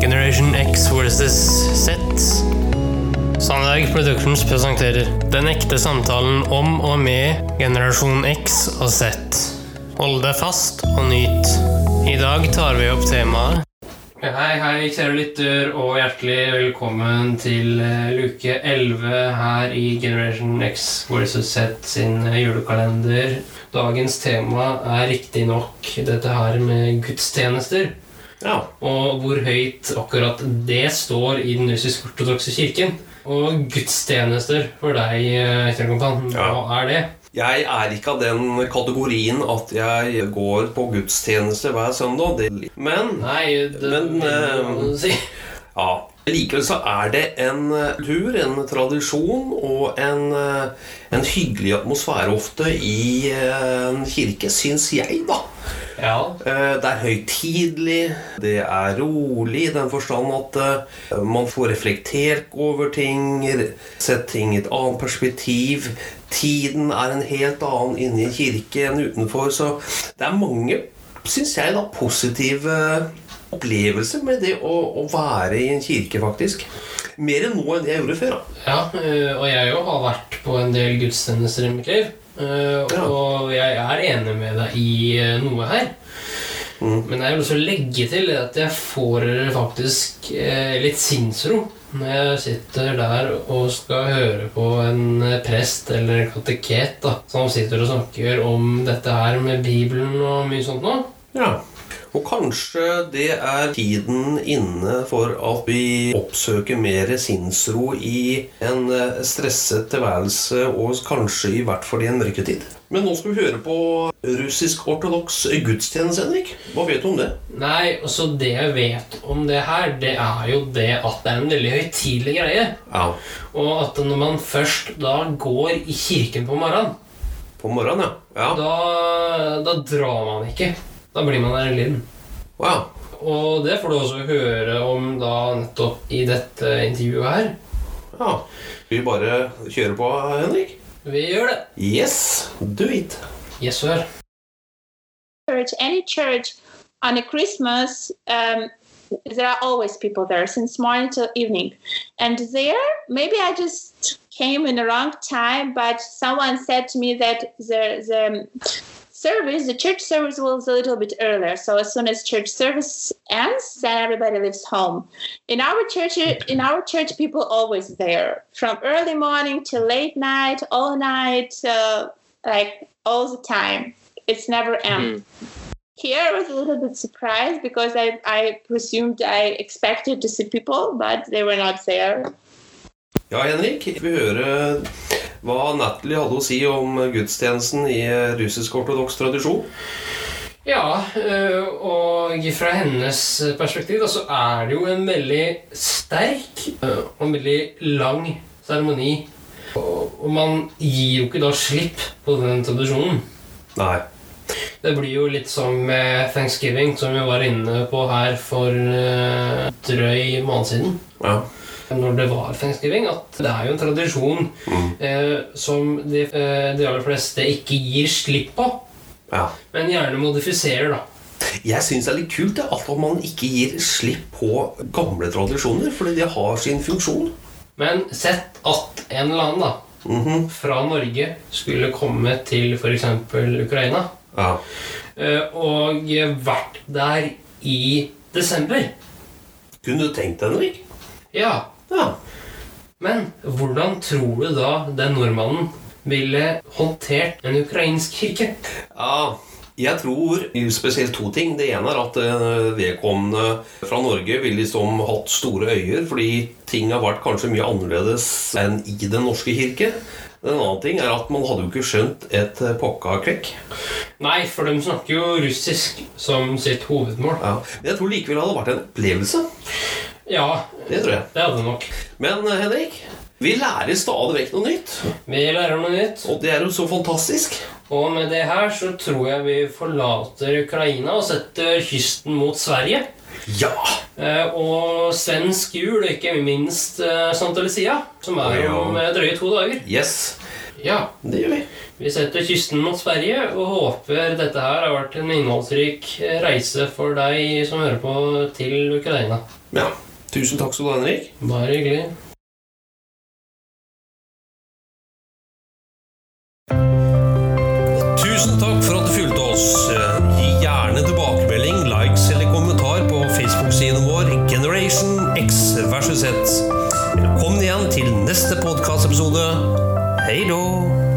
Generation X versus Z. Sandberg Productions presenterer Den ekte samtalen om og med generasjon X og Z. Hold deg fast og nyt. I dag tar vi opp temaet Hei, hei, kjære lytter, og hjertelig velkommen til eh, luke 11 her i Generation X versus Z sin eh, julekalender. Dagens tema er riktignok dette her med gudstjenester. Ja. og hvor høyt akkurat det står i den russisk-ortodokse kirken. Og gudstjenester for deg, eh, Kjell-Kompan. Hva Ja. er det? Jeg er ikke av den kategorien at jeg går på gudstjeneste hver søndag. Det, men Nei, det Men, eh, hva du si. ja. likevel så er det en eh, kultur, en tradisjon og en, eh, en hyggelig atmosfære ofte i eh, en kirke, syns jeg, da. Ja. Eh, Det er høytidelig, det er rolig i den forstand at eh, man får reflektert over ting, sett ting i et annet perspektiv. Tiden er en helt annen inne i en kirke enn utenfor, så det er mange, syns jeg, da, positive opplevelser med det å, å være i en kirke, faktisk. Mer enn nå enn det jeg gjorde før. da. ja. eh, Og jeg jo har vært på en del gudstjenester i mitt liv. eh, Ja. Og jeg er enig med deg i eh, noe her. Mm. Men jeg vil også legge til at jeg får faktisk eh, litt sinnsro når jeg sitter der og skal høre på en eh, prest eller kateket da, som sitter og snakker om dette her med Bibelen og mye sånt nå. Og kanskje det er tiden inne for at vi oppsøker mer sinnsro i en eh, stresset tilværelse, og kanskje i hvert fall i en mørketid. Men nå skal vi høre på russisk-ortodoks gudstjeneste, Henrik. Hva vet du om det? Nei, så det jeg vet om det her, det er jo det at det er en veldig høytidelig greie. Ja. Og at når man først da går i kirken på morgenen, På morgenen, ja. ja. da, da drar man ikke. Da blir man der en liten. Wow. Og det får du også høre om da nettopp i dette intervjuet her. Ja. Skal vi bare kjøre på, Henrik? Vi gjør det. Yes, do it. Yes, sir. church, any church, on a Christmas, um, there are always people there since morning till evening. And there, maybe I just came in the wrong time, but someone said to me that the the service, the church service was a little bit earlier. So as soon as church service ends, then everybody leaves home. In our church, in our church, people always there from early morning till late night, all night, uh, like all the time. It's never ends here I was a little bit surprised because I, I presumed I expected to see people, but they were not there. Ja, Henrik, vi hører hva Natalie hadde å si om gudstjenesten i russisk-ortodoks tradisjon. Ja, øh, og fra hennes perspektiv da, så er det jo en veldig sterk øh, og en veldig lang seremoni. Og og man gir jo ikke da slipp på den tradisjonen. Nei. Det blir jo litt som med thanksgiving, som vi var inne på her for øh, drøy måned siden. Ja. når det var thanksgiving, at det er jo en tradisjon Mm. eh, som de, eh, de aller fleste ikke gir slipp på, ja. men gjerne modifiserer, da. Jeg syns det er litt kult det, at man ikke gir slipp på gamle tradisjoner, fordi de har sin funksjon. Men sett at en eller annen da, Mhm. fra Norge skulle komme til f.eks. Ukraina ja. eh, og vært der i desember. Kunne du tenkt deg, Henrik? Ja, Ja. men hvordan tror du da den nordmannen ville håndtert en ukrainsk kirke? ja. Jeg tror spesielt to ting. Det ene er at eh, vedkommende fra Norge ville liksom hatt store øyer, fordi ting har vært kanskje mye annerledes enn i Den norske kirke. Den andre ting er at man hadde jo ikke skjønt et eh, pakka kvekk. Nei, for de snakker jo russisk som sitt hovedmål. Ja. Men jeg tror likevel det hadde vært en opplevelse. Ja, Det tror jeg. det hadde det nok. Men eh, Henrik, vi lærer stadig vekk noe nytt. Vi lærer noe nytt, Og det er jo så fantastisk. og med det her så tror jeg vi forlater Ukraina og setter kysten mot Sverige. Ja! Eh, Og svensk jul, og ikke minst eh, Santa Lucia, som er om Ja. eh, drøye to dager. Yes. Ja. Det gjør vi. Vi setter kysten mot Sverige og håper dette her har vært en innholdsrik reise for deg som hører på til Ukraina. Ja. Tusen takk skal du ha, Henrik. Bare hyggelig. Tusen takk for at du fulgte oss. Eh, Gi gjerne tilbakemelding, likes eller kommentar på Facebook-siden vår Generation X versus Z. Velkommen igjen til neste podkastepisode. Hei då!